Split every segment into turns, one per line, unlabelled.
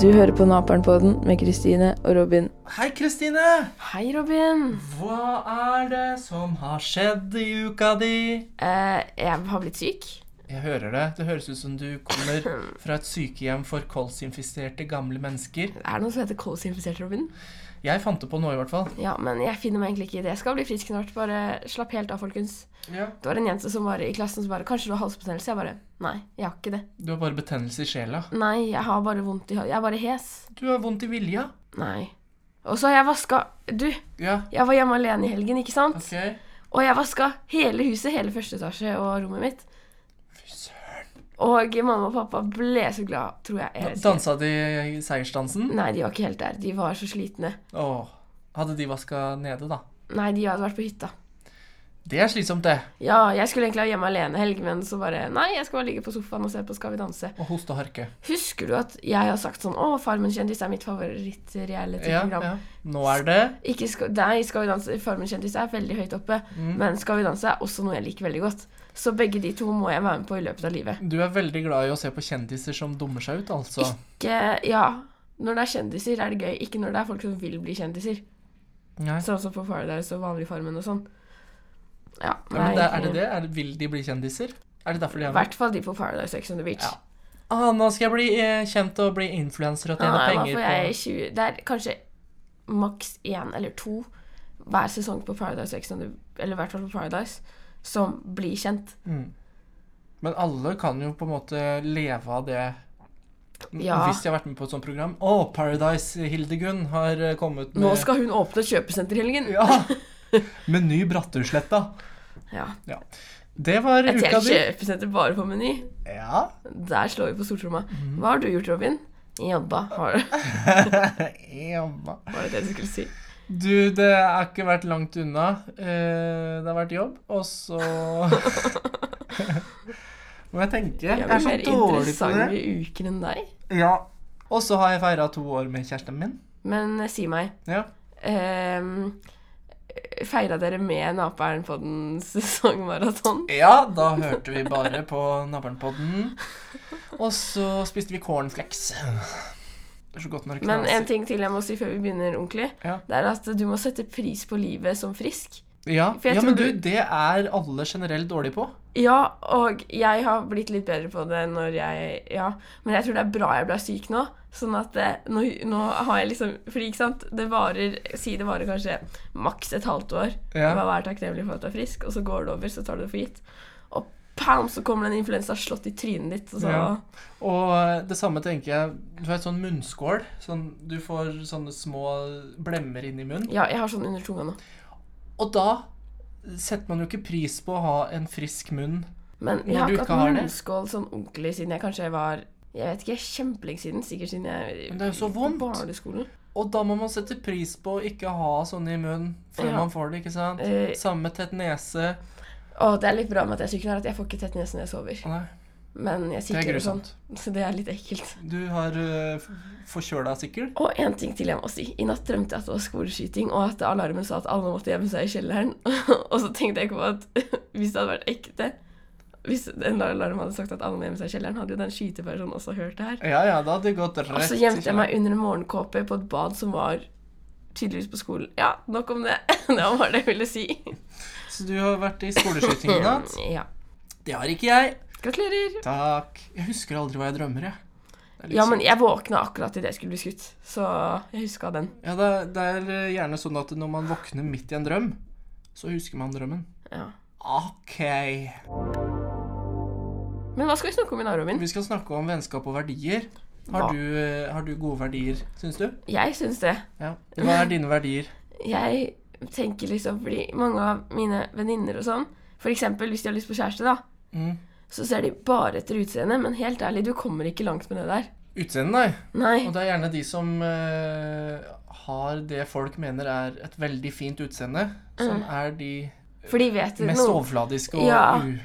Du hører på Naperen-podden med Kristine og Robin.
Hei, Kristine!
Hei, Robin.
Hva er det som har skjedd i uka di?
Eh, jeg har blitt syk.
Jeg hører det. Det høres ut som du kommer fra et sykehjem for kolsinfiserte gamle mennesker.
Er det noe som heter kolsinfisert, Robin?
Jeg fant det på nå, i hvert fall.
Ja, men jeg finner meg egentlig ikke i det. Jeg skal bli frisk snart. Bare slapp helt av, folkens.
Ja.
Det var en jente som var i klassen som bare Kanskje du har halsbetennelse? Jeg bare Nei, jeg har ikke det.
Du har bare betennelse i sjela.
Nei, jeg har bare vondt i hø- Jeg er bare hes.
Du har vondt i vilja.
Nei. Og så har jeg vaska Du,
Ja,
jeg var hjemme alene i helgen, ikke sant?
OK.
Og jeg vaska hele huset, hele første etasje og rommet mitt.
Fy søren.
Og mamma og pappa ble så glad, tror jeg. jeg. husker.
Dansa de i seiersdansen?
Nei, de var ikke helt der. De var så slitne.
Åh. Hadde de vaska nede, da?
Nei, de hadde vært på hytta.
Det er slitsomt, det.
Ja, jeg skulle egentlig være hjemme alene helg, men så bare Nei, jeg skal bare ligge på sofaen og se på Skal vi danse.
Å hoste og harke.
Husker du at jeg har sagt sånn Å, Farmen kjendis er mitt
Ja,
favoritt-reality-program.
ja. Nå er det
Ikke skal, nei, Skal vi danse Farmen kjendis er veldig høyt oppe,
Mm.
men Skal vi danse er også noe jeg liker veldig godt. Så begge de to må jeg være med på i løpet av livet.
Du er veldig glad i å se på kjendiser som dummer seg ut, altså.
Ikke, ja, Når det er kjendiser, er det gøy. Ikke når det er folk som vil bli kjendiser.
Nei.
Sånn som på Paradise og vanlig Farmen og sånn. Ja,
Ja, men
nei,
det, er det det? Er det? Vil de bli kjendiser? Er det derfor de
I
er med?
hvert fall de på Paradise Sex on the Beach.
Ja. Ah, nå skal jeg bli eh, kjent og bli influenser og tjene
Nei, hva
penger
får
på
jeg 20 Det er kanskje maks én eller to hver sesong på Paradise X, eller i hvert fall på Paradise, som blir kjent.
mm. Men alle kan jo på en måte leve av det N-
Ja.
hvis de har vært med på et sånt program. Å, Paradise Hildegunn har eh, kommet med
Nå skal hun åpne et kjøpesenter i helgen!
Ja! Meny Brattusletta.
Ja.
Det var
Et
uka
helt
di.
kjøpesenter bare på Meny.
Ja.
Der slår vi på stortromma.
Mhm.
Hva har du gjort, Robin? Jobba. Har
Jamma.
Var det det du skulle si?
Du, det har ikke vært langt unna. Eh, det har vært jobb, og så Må jeg tenke. Jeg
Jeg
er
blir
så
mer
dårlig på
interessant
det.
i uken enn deg.
Ja. Og så har jeg feira to år med kjæresten min.
Men eh, si meg,
Ja.
um, feira dere med Naperen på den sesongmaraton?
ja, da hørte vi bare på Naboenpodden. Og så spiste vi cornflakes. Det er så godt når det
Men en
knaser.
ting til jeg må si før vi begynner ordentlig,
Ja.
det er at du må sette pris på livet som frisk.
Ja.
for jeg
ja, men
tror
du,
du-
det er alle generelt dårlige på.
Ja, og jeg har blitt litt bedre på det når jeg Ja, men jeg tror det er bra jeg ble syk nå. Sånn at eh, nå, nå har jeg liksom Fordi, ikke sant, det varer Si det varer kanskje maks et halvt år.
Ja.
Bare vær takknemlig for at du er frisk, og så går det over, så tar du det for gitt. Og pam, så kommer det en influensa slått i trynet ditt, og så
Ja. Og det samme tenker jeg Du har et sånn munnskål. Sånn, du får sånne små blemmer inni munnen.
Ja, jeg har sånn under tunga nå.
Og da setter man jo ikke pris på å ha en frisk munn.
Men jeg
Når
har
du
ikke
ikke
hatt
har det?
munnskål sånn ordentlig siden jeg kanskje var Jeg vet ikke, kjempelenge siden. Sikkert siden jeg
Men det er jo så
gikk
vondt.
På barneskolen.
Og da må man sette pris på å ikke ha sånne i munnen før
Ja.
man får det, ikke sant?
Eh.
Samme med tett nese.
Og det er litt bra med at jeg er syk nå, er at jeg får ikke tett nese når jeg sover.
Nei,
Men jeg
det er
sikler og sånn,
grusomt.
så det er litt ekkelt.
Du har eh, f- forkjøla sikkel.
Og en ting til jeg må si. I natt drømte jeg at det var skoleskyting, og at alarmen sa at alle måtte gjemme seg i kjelleren. og så tenkte jeg ikke på at hvis det hadde vært ekte Hvis den alarmen hadde sagt at alle må gjemme seg i kjelleren, hadde jo den skytepersonen også hørt det her.
Ja ja, da hadde det gått rett
Og så gjemte jeg Altså, meg under en morgenkåpe på et bad som var tydeligvis på skolen. Ja, nok om det. Det var bare det jeg ville si.
Så du har vært i skoleskyting i natt?
Ja.
Det har ikke jeg.
Gratulerer.
Takk. Jeg husker aldri hva jeg drømmer, jeg. Det er litt
Ja, men jeg våkna akkurat idet jeg skulle bli skutt, så jeg huska den.
sykt. ja det, er- det er eh, gjerne sånn at når man våkner midt i en drøm, så husker man drømmen.
Ja.
OK.
Men hva skal vi snakke om i dag, Robin?
Vi skal snakke om vennskap og verdier. Har
Hva?
du, eh, har du gode verdier, syns du?
Jeg syns det.
Ja. Hva er dine verdier?
Jeg tenker liksom fordi mange av mine venninner og sånn, f.eks. hvis de har lyst på kjæreste, da,
Mm.
så ser de bare etter utseendet, men helt ærlig, du kommer ikke langt med det der.
Utseendet, nei.
Nei.
Og det er gjerne de som eh, har det folk mener er et veldig fint utseende, som er de
For de vet
mest
Mm. noe.
overfladiske og
Ja.
u,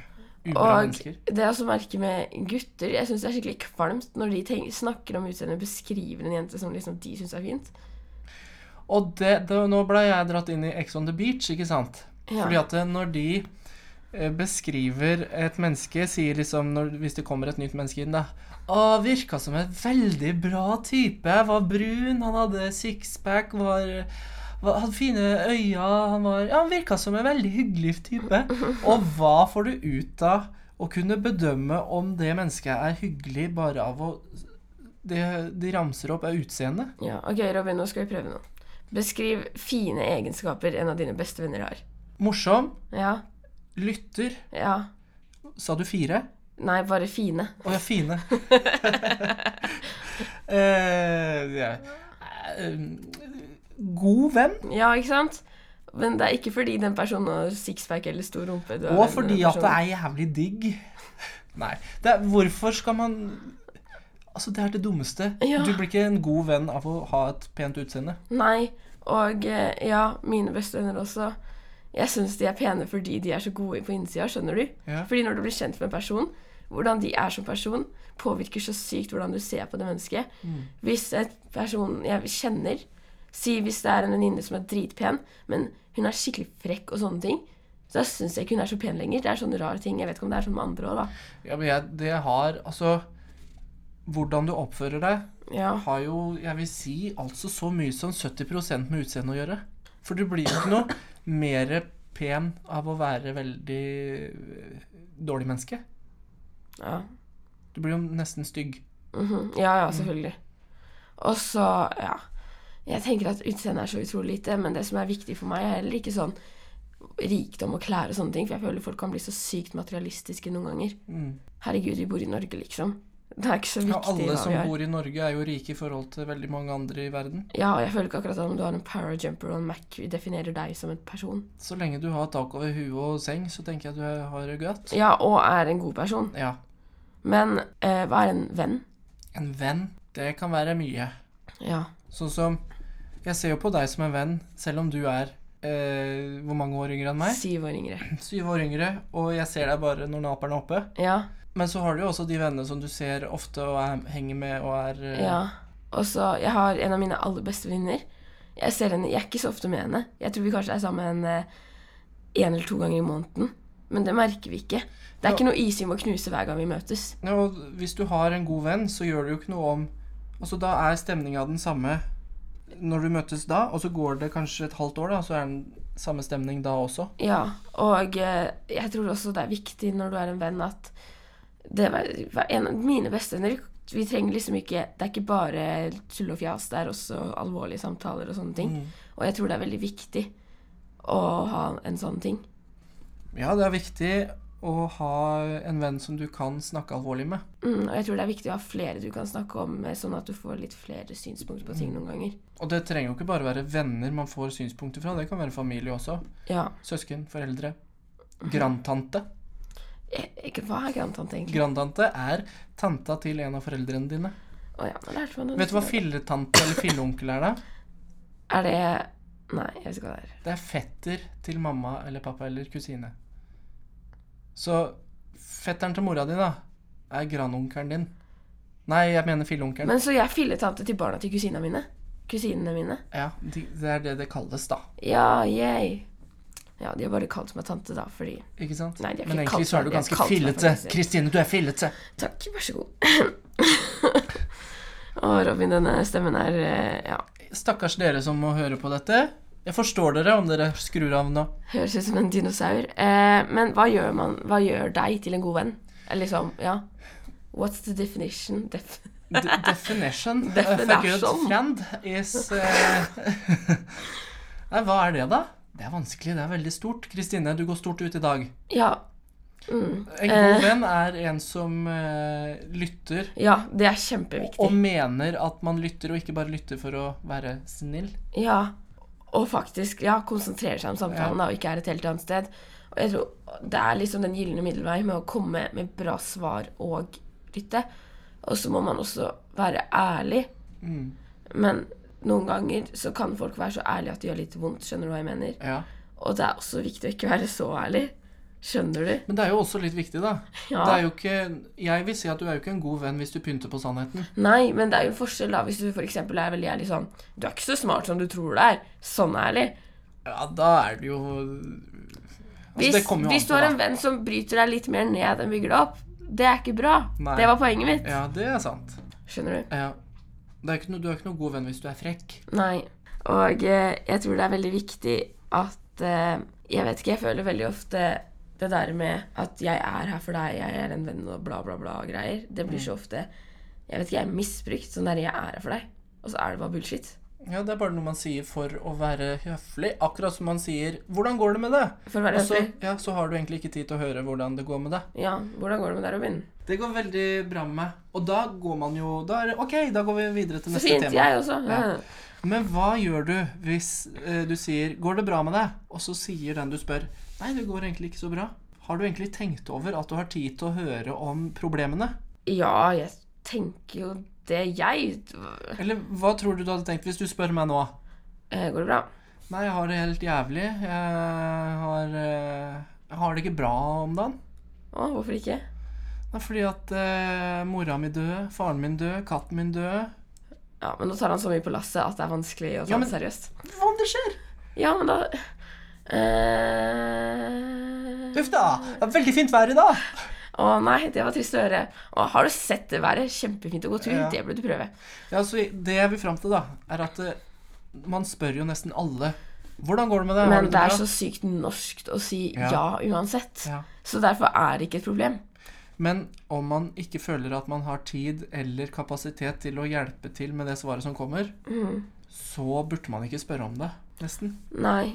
ubra
Og
mennesker.
det jeg også merker med gutter Jeg syns det er skikkelig kvalmt når de tenk, snakker om utseendet, beskriver en jente som liksom de syns er fint.
Og det, det, nå ble jeg dratt inn i Ex on the Beach, ikke sant?
Ja.
Fordi at eh, når de eh, beskriver et menneske, sier liksom når, hvis det kommer et nytt menneske inn, da Å, virka som en veldig bra type. Var brun, han hadde sixpack, var, var hadde fine øyne Han var Ja, han virka som en veldig hyggelig type. Og hva får du ut av å kunne bedømme om det mennesket er hyggelig bare av å Det de ramser opp, er utseendet?
Ja, ok, Robin, nå skal vi prøve noe. Beskriv fine egenskaper en av dine beste venner har.
Morsom.
Ja,
Lytter.
ja.
Sa du fire?
Nei, bare fine.
Å ja, fine. eh, ja. Eh, God venn,
Ja, ikke sant? Men det er ikke fordi den personen har sixpack eller stor rumpe. du er venn
og
med
fordi
den
at det
personen.
er jævlig digg. Nei. Det er, hvorfor skal man Altså, det er det dummeste.
Ja.
Du blir ikke en god venn av å ha et pent utseende.
Nei, og eh, ja, mine beste venner også. Jeg syns de er pene fordi de er så gode på innsida, skjønner du?
Ja.
Fordi når du blir kjent med en person, hvordan de er som person, påvirker så sykt hvordan du ser på det mennesket. Hvis en person jeg kjenner Si hvis det er en venninne som er dritpen, men hun er skikkelig frekk og sånne ting, så syns jeg ikke hun er så pen lenger. Det er sånne rare ting. Jeg vet ikke om det er sånn med andre òg, da.
Ja, men jeg, det har Altså Hvordan du oppfører deg,
Ja.
har jo, jeg vil si, altså så mye som 70 med utseendet å gjøre. For du blir jo ikke noe mer pen av å være veldig øh, dårlig menneske.
ja.
Du blir jo nesten stygg.
Mhm. Ja, ja, selvfølgelig. Og så, ja Jeg tenker at utseendet er så utrolig lite, men det som er viktig for meg, er heller ikke sånn rikdom og klær og sånne ting, for jeg føler folk kan bli så sykt materialistiske noen ganger. Herregud, vi bor i Norge, liksom. Det er ikke så
Mm. Ja,
viktig
alle
hva
som
vi har.
bor i Norge, er jo rike i forhold til veldig mange andre i verden.
Ja, og jeg føler ikke akkurat at om du har en powerjumper og en Mac, definerer deg som en person.
Så lenge du har tak over huet og seng, så tenker jeg at du har det godt.
Ja, og er en god person.
Ja.
Men eh, hva er en venn?
En venn, det kan være mye.
Ja.
Sånn som Jeg ser jo på deg som en venn, selv om du er eh, Hvor mange år yngre enn meg?
Syv år yngre.
Syv år yngre, og jeg ser deg bare når naperen er oppe.
Ja.
Men så har du jo også de vennene som du ser ofte og er, henger med og er eh,
Ja. Og så Jeg har en av mine aller beste venninner. Jeg ser henne, jeg er ikke så ofte med henne. Jeg tror vi kanskje er sammen én eller to ganger i måneden. Men det merker vi ikke. Det er ikke noe is vi må knuse hver gang vi møtes.
ja, og Hvis du har en god venn, så gjør det jo ikke noe om Altså Da er stemninga den samme når du møtes da, og så går det kanskje et halvt år, da, så er den samme stemning da også.
Ja, og eh, jeg tror også det er viktig når du er en venn at det var, var en av mine bestevenner Vi trenger liksom ikke Det er ikke bare tull og fjas, det er også alvorlige samtaler og sånne ting. Og jeg tror det er veldig viktig å ha en sånn ting.
Ja, det er viktig å ha en venn som du kan snakke alvorlig med.
Mm, og jeg tror det er viktig å ha flere du kan snakke om, eh, sånn at du får litt flere synspunkter på
Mm.
ting noen ganger.
Og det trenger jo ikke bare være venner man får synspunkter fra, det kan være familie også.
Ja.
Søsken, foreldre. Grandtante.
Jeg, jeg, E, hva er grandtante, egentlig?
Grandtante er tanta til en av foreldrene dine.
Å ja, nå lærte man det.
Vet du hva filletante eller filleonkel er, da?
Er det Nei, jeg vet ikke hva det er.
Det er fetter til mamma eller pappa eller kusine. Så fetteren til mora di, da, er grandonkelen din. Nei, jeg mener filleonkelen.
Men så jeg er filletante til barna til kusina mine? Kusinene mine?
Ja, de, det er det det kalles, da.
Ja, yay. Ja, de har bare kalt meg tante, da, fordi
Ikke sant?
Nei, de har
Men
ikke
egentlig
kalt
så er
meg-
du
de har
ganske
kalt meg for
fillete.
det.
Kristine, du er fillete.
Takk, vær så god. Å, Robin, denne stemmen er eh, Ja.
Stakkars dere som må høre på dette. Jeg forstår dere om dere skrur av nå.
Høres ut som en dinosaur. Eh, men hva gjør man Hva gjør deg til en god venn? Eller liksom, ja What's the definition? Def
D definition of a good
Definition.
friend is eh, Nei, hva er det, da? Det er vanskelig. Det er veldig stort. Kristine, du går stort ut i dag.
ja. Mm.
En god venn er en som eh, lytter
Ja, det er kjempeviktig.
og mener at man lytter, og ikke bare lytter for å være snill.
Ja. Og faktisk ja, konsentrere seg om samtalen da, og ikke er et helt annet sted. Og jeg tror Det er liksom den gylne middelvei med å komme med bra svar og lytte. Og så må man også være ærlig. Men noen ganger så kan folk være så ærlige at det gjør litt vondt. Skjønner du hva jeg mener?
Ja.
Og det er også viktig å ikke være så ærlig. Skjønner du?
Men det er jo også litt viktig, da.
Ja.
Det er jo ikke, jeg vil si at du er jo ikke en god venn hvis du pynter på sannheten.
Nei, men det er jo en forskjell da hvis du for eksempel er veldig ærlig sånn Du er ikke så
Altså,
smart som du tror du er. Sånn ærlig.
Ja, da er det jo Altså,
Hvis,
det kommer jo
hvis
an
du
på,
har
da.
en venn som bryter deg litt mer ned enn bygger deg opp, det er ikke bra.
Nei.
Det var poenget mitt.
Ja, det er sant.
Skjønner du?
Ja. Det er ikke noe, du er ikke noe god venn hvis du er frekk.
Nei. Og eh, jeg tror det er veldig viktig at eh, Jeg vet ikke, jeg føler veldig ofte det der med at jeg er her for deg, jeg er en venn og bla, bla, bla og greier. Det blir
Mm.
så ofte Jeg vet ikke, jeg er misbrukt. Sånn der jeg er her for deg. Og så er det bare bullshit.
Ja, det er bare noe man sier for å være høflig. Akkurat som man sier 'Hvordan går det med det?'
For å være
Og så,
høflig.
ja, så har du egentlig ikke tid til å høre hvordan det går med deg.
Ja, hvordan går det med deg, Robin?
Det går veldig bra med meg. Og da går man jo da er det, OK, da går vi videre
Så
til neste
fint.
tema.
Jeg også. Ja.
Ja. Men hva gjør du hvis eh, du sier 'Går det bra med deg?' og så sier den du spør 'Nei, det går egentlig ikke så bra'. Har du egentlig tenkt over at du har tid til å høre om problemene?
ja, jeg tenker jo det, jeg.
Eller hva tror du du hadde tenkt hvis du spør meg nå?
Eh, Går det bra?
Nei, jeg har det helt jævlig. Jeg har, eh, jeg har det ikke bra om dagen.
Å, hvorfor ikke?
Det er fordi at eh, mora mi død, faren min død, katten min død.
Ja, men nå tar han så mye på lasset at det er vanskelig å ta
Ja, men-
det seriøst.
Hva om det skjer?
Ja, men da eh,
Uff da. Det er veldig fint vær i dag.
Å nei, det var trist å høre. Å, har du sett det været? Kjempefint å gå tur.
Ja.
Det burde du prøve.
Ja, så det jeg vil fram til, da, er at eh, man spør jo nesten alle Hvordan går det med deg? Har
Men
du
det er
bra?»
så sykt norskt å si ja,
Ja.
uansett.
ja.
Så derfor er det ikke et problem.
Men om man ikke føler at man har tid eller kapasitet til å hjelpe til med det svaret som kommer,
Mm.
så burde man ikke spørre om det, nesten.
Nei.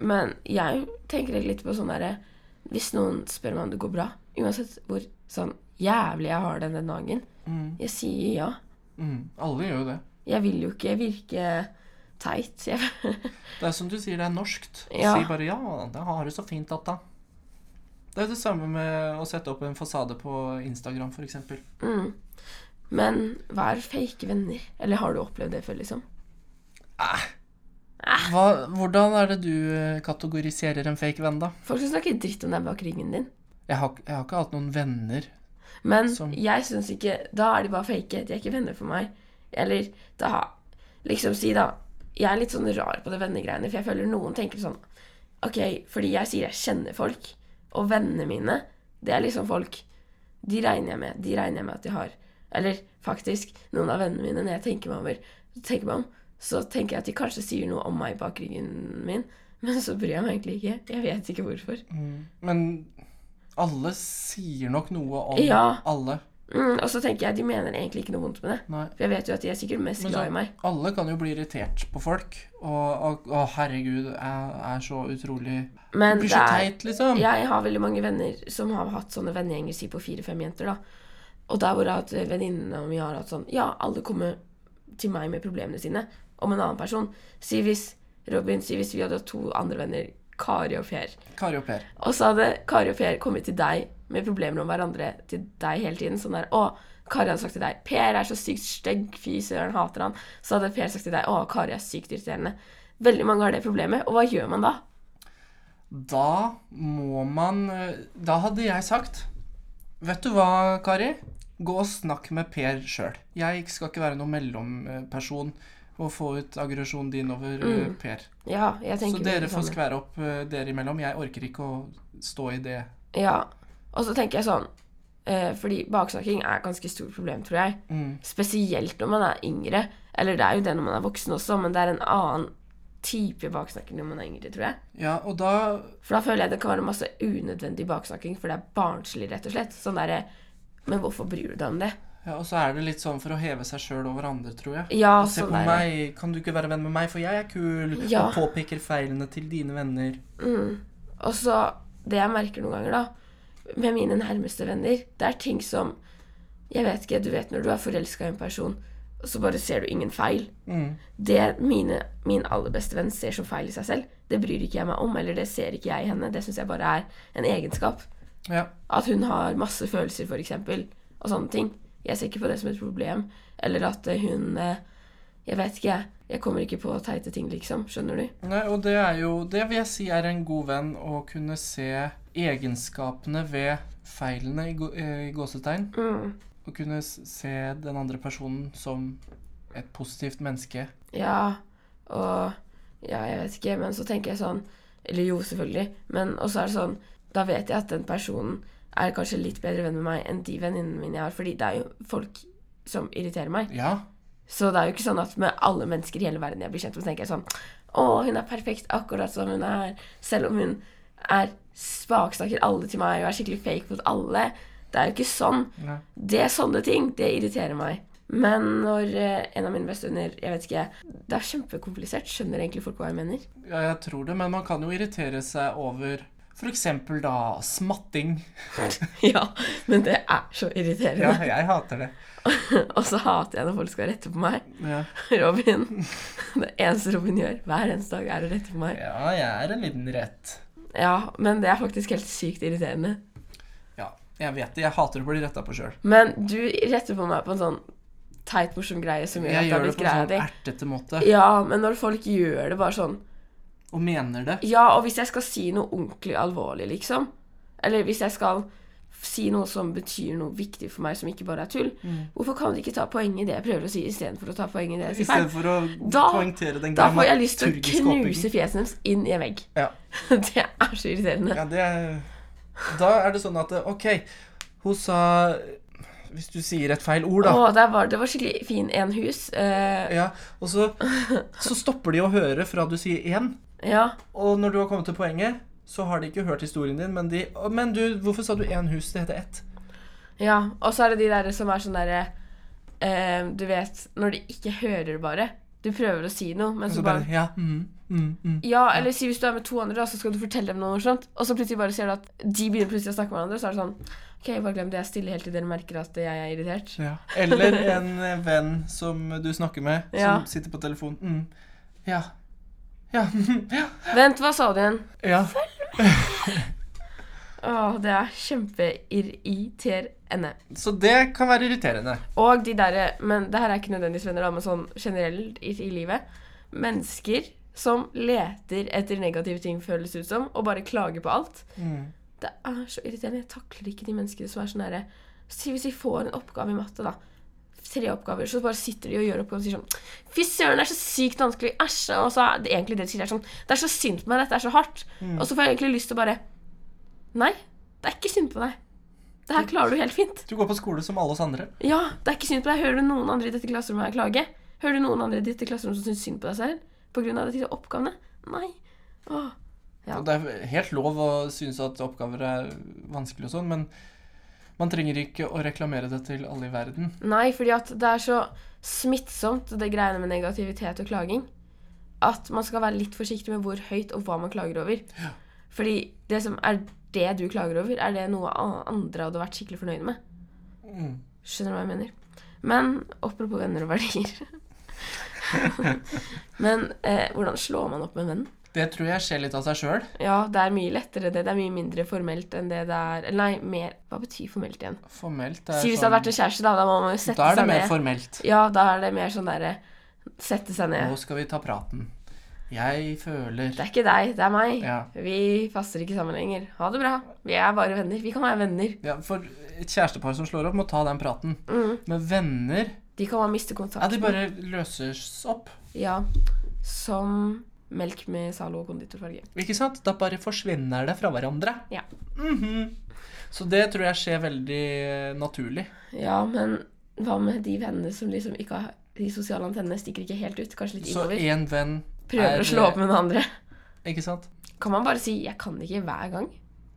Men jeg tenker litt på sånn derre Hvis noen spør meg om det går bra, uansett hvor sånn jævlig jeg har det den dagen, jeg sier ja.
Mm. Alle gjør jo det.
Jeg vil jo ikke virke teit. Jeg
Det er som du sier, det er norskt.
Ja.
Si bare 'ja, det har du så fint at da'. Det er jo det samme med å sette opp en fasade på Instagram, f.eks.
Mm. Men vær fake venner. Eller har du opplevd det før, liksom?
Hvordan er det du eh, kategoriserer en fake venn, da?
Folk som snakker dritt om deg bak ryggen din.
Jeg har, jeg har ikke hatt noen venner.
Men
Som-
jeg syns ikke Da er de bare fake. De er ikke venner for meg. Eller da Liksom si, da Jeg er litt sånn rar på det vennegreiene, for jeg føler noen tenker sånn Ok, fordi jeg sier jeg kjenner folk, og vennene mine, det er liksom folk De regner jeg med. De regner jeg med at de har. Eller faktisk, noen av vennene mine, når jeg tenker meg over, tenker meg om, så tenker jeg at de kanskje sier noe om meg bak ryggen min, men så bryr jeg meg egentlig ikke. Jeg vet ikke hvorfor.
Men alle sier nok noe om
Ja.
alle.
Mm, og så tenker jeg de mener egentlig ikke noe vondt med det.
Nei.
For jeg vet jo at de er sikkert mest
Men
glad i
så-
meg.
Alle kan jo bli irritert på folk. Og, og, å, herregud, jeg er så utrolig Du
Men
blir
det
så
er,
teit, liksom.
jeg har veldig mange venner som har hatt sånne vennegjenger, si på fire-fem jenter, da. Og der hvor at venninnene mine har hatt sånn Ja, alle kommer til meg med problemene sine. Om en annen person. Si hvis Robin, si hvis vi hadde hatt to andre venner, Kari og Per.
Kari og Per.
Og så hadde Kari og Per kommet til deg med problemer om hverandre til deg hele tiden. Sånn der, å, Kari hadde sagt til deg 'Per er så sykt stygg, fy søren, hater han'. Så hadde Per sagt til deg 'Å, Kari er sykt irriterende'. Veldig mange har det problemet, og hva gjør man da?
Da må man eh, Da hadde jeg sagt Vet du hva, Kari? Gå og snakk med Per sjøl. Jeg skal ikke være noen mellomperson og få ut aggresjonen din over eh, Per.
Ja, jeg
Så
Mm. tenker
dere
veldig
får
sånn.
skvære opp eh, dere imellom. Jeg orker ikke å stå i det.
Ja. Og så tenker jeg sånn eh, Fordi baksnakking er et ganske stort problem, tror jeg.
Mm.
Spesielt når man er yngre. Eller det er jo det når man er voksen også, men det er en annen type baksnakking når man er yngre, tror jeg.
Ja, og da
For da føler jeg det kan være masse unødvendig baksnakking, for det er barnslig, rett og slett. Sånn derre Men hvorfor bryr du deg om det?
ja, Og så er det litt sånn for å heve seg sjøl over andre, tror jeg.
Ja,
Se
sånn
på
derre
meg, kan du ikke være venn med meg, for jeg er kul,
Ja.
og påpeker feilene til dine venner.
Mm. Og så Det jeg merker noen ganger, da, med mine nærmeste venner, det er ting som Jeg vet ikke, du vet når du er forelska i en person, så bare ser du ingen feil.
Mm.
Det mine, min aller beste venn ser som feil i seg selv, det bryr ikke jeg meg om, eller det ser ikke jeg i henne. Det syns jeg bare er en egenskap.
Ja.
At hun har masse følelser, for eksempel, og sånne ting. Jeg ser ikke på det som et problem. Eller at eh, hun eh, Jeg vet ikke, jeg. Jeg kommer ikke på teite ting, liksom. Skjønner du?
Nei, og det er jo Det vil jeg si er en god venn å kunne se egenskapene ved feilene i, gå- eh, i gåsetegn.
Mm.
Og kunne s- se den andre personen som et positivt menneske.
Ja, og Ja, jeg vet ikke, men så tenker jeg sånn Eller jo, selvfølgelig. Men også er det sånn Da vet jeg at den personen er kanskje litt bedre venn med meg enn de venninnene mine jeg har. Fordi det er jo folk som irriterer meg.
Ja.
Så det er jo ikke sånn at med alle mennesker i hele verden jeg blir kjent med, så tenker jeg sånn Å, hun er perfekt akkurat som hun er. Selv om hun er baksnakker alle til meg og er skikkelig fake mot alle. Det er jo ikke sånn.
Nei.
Det er sånne ting. Det irriterer meg. Men når eh, en av mine bestevenner Jeg vet ikke. Det er kjempekomplisert. Skjønner egentlig folk hva jeg mener?
Ja, jeg tror det, men man kan jo irritere seg over f.eks. da smatting.
ja, men det er så
Ja,
irriterende.
jeg hater det.
Og så hater jeg når folk skal rette på meg.
Ja,
Robin. Det eneste Robin gjør hver eneste dag, er å rette på meg.
ja jeg er en liten rett.
Ja, men det er faktisk helt sykt irriterende.
Ja, jeg vet det. Jeg hater å bli retta på sjøl.
Men du retter på meg på en sånn teit, morsom greie som gjør
Jeg
at det
gjør
er
det
blitt
på en
greia
sånn
di.
ertete måte,
Ja, men når folk gjør det bare sånn
og mener det.
Ja, og hvis jeg skal si noe ordentlig alvorlig, liksom. Eller hvis jeg skal si noe som betyr noe viktig for meg, som ikke bare er tull.
Mm.
Hvorfor kan du ikke ta poeng i det jeg prøver å si, istedenfor å ta poeng i det jeg sier feil?
Istedenfor å
Da-
poengtere den
Da får jeg lyst til å
dramaturgiske
knuse
oppbyggingen.
fjeset deres inn i en vegg.
Ja.
Det er så irriterende.
Ja, det er Da er det sånn at OK, hun sa Hvis du sier et feil ord, da.
Å, der var, det var skikkelig fin en hus. Eh,
Ja, og så, så stopper de å høre fra du sier én,
ja.
og når du har kommet til poenget, så har de ikke hørt historien din, men de «Å, Men du, hvorfor sa du én hus? Det heter ett.
Ja, og så er det de der som er sånn derre eh, Du vet, når de ikke hører bare. Du prøver å si noe, men
Og
så
så
bare
bare Ja. Mm, mm, mm.
Ja, eller si hvis du er med to andre, da, så skal du fortelle dem noe morsomt. Og så plutselig bare ser du at de begynner plutselig å snakke med hverandre, og så er det sånn OK, bare glem det. Jeg er stille helt til dere merker at jeg er irritert.
Ja. Eller en eh, venn som du snakker med,
Ja.
som sitter på telefon. Mm. Ja. Ja. ja.
Vent, hva sa du igjen?
ja.
Å, det er kjempeirriterende.
Så det kan være irriterende.
Og de derre Men det her er ikke nødvendigvis venner, da, men sånn generelt i, i livet. Mennesker som leter etter negative ting, føles det ut som, og bare klager på alt.
Mm.
Det er så irriterende. Jeg takler ikke de menneskene som er sånn derre Si hvis de får en oppgave i matte, da. Tre oppgaver, så bare sitter de og gjør oppgaven og sier sånn Fy søren, det er så sykt vanskelig. Æsj. Og så er det egentlig det de sier, er sånn Det er så synd på meg, dette er så hardt. Og så får jeg egentlig lyst til å bare Nei, det er ikke synd på deg. Det her klarer du helt fint.
Du går på skole som alle oss andre.
Ja, det er ikke synd på deg. Hører du noen andre i dette klasserommet her klage? Hører du noen andre i dette klasserommet som syns synd på deg selv på grunn av disse oppgavene? Nei. Åh. Ja.
Og det er helt lov å synes at oppgaver er vanskelig og sånn, men man trenger ikke å reklamere det til alle i verden.
Nei, fordi at det er så smittsomt, det greiene med negativitet og klaging, at man skal være litt forsiktig med hvor høyt og hva man klager over. Fordi det som er det du klager over, er det noe a- andre hadde vært skikkelig fornøyd med.
Mm.
Skjønner du hva jeg mener? Men apropos venner og verdier Men eh, hvordan slår man opp med en venn?
Det tror jeg skjer litt av seg sjøl.
Ja, det er mye lettere det. Det er mye mindre formelt enn det det er Eller nei, mer Hva betyr formelt igjen?
Formelt er sånn-
Si hvis det hadde vært en kjæreste, da. Da må man jo sette seg ned.
Da er det mer formelt.
Ja, da er det mer sånn derre Sette seg
Nå
ned.
skal vi ta praten. Jeg føler
Det er ikke deg, det er meg.
Ja.
Vi passer ikke sammen lenger. Ha det bra. Vi er bare venner. Vi kan være venner.
ja, For et kjærestepar som slår opp, må ta den praten.
Mm.
Men venner
De kan bare miste
Ja,
kontakten.
de bare løses opp.
Ja. Som melk med Zalo konditorfarge.
Ikke sant? Da bare forsvinner det fra hverandre.
Ja.
Mhm. Så det tror jeg skjer veldig eh, naturlig.
ja, men hva med de vennene som liksom ikke har De sosiale antennene stikker ikke helt ut. Kanskje litt
Så
innover.
én venn
Prøver
er- eh,
å slå opp med noen andre.
Ikke sant?
Kan man bare si 'jeg kan ikke' hver gang?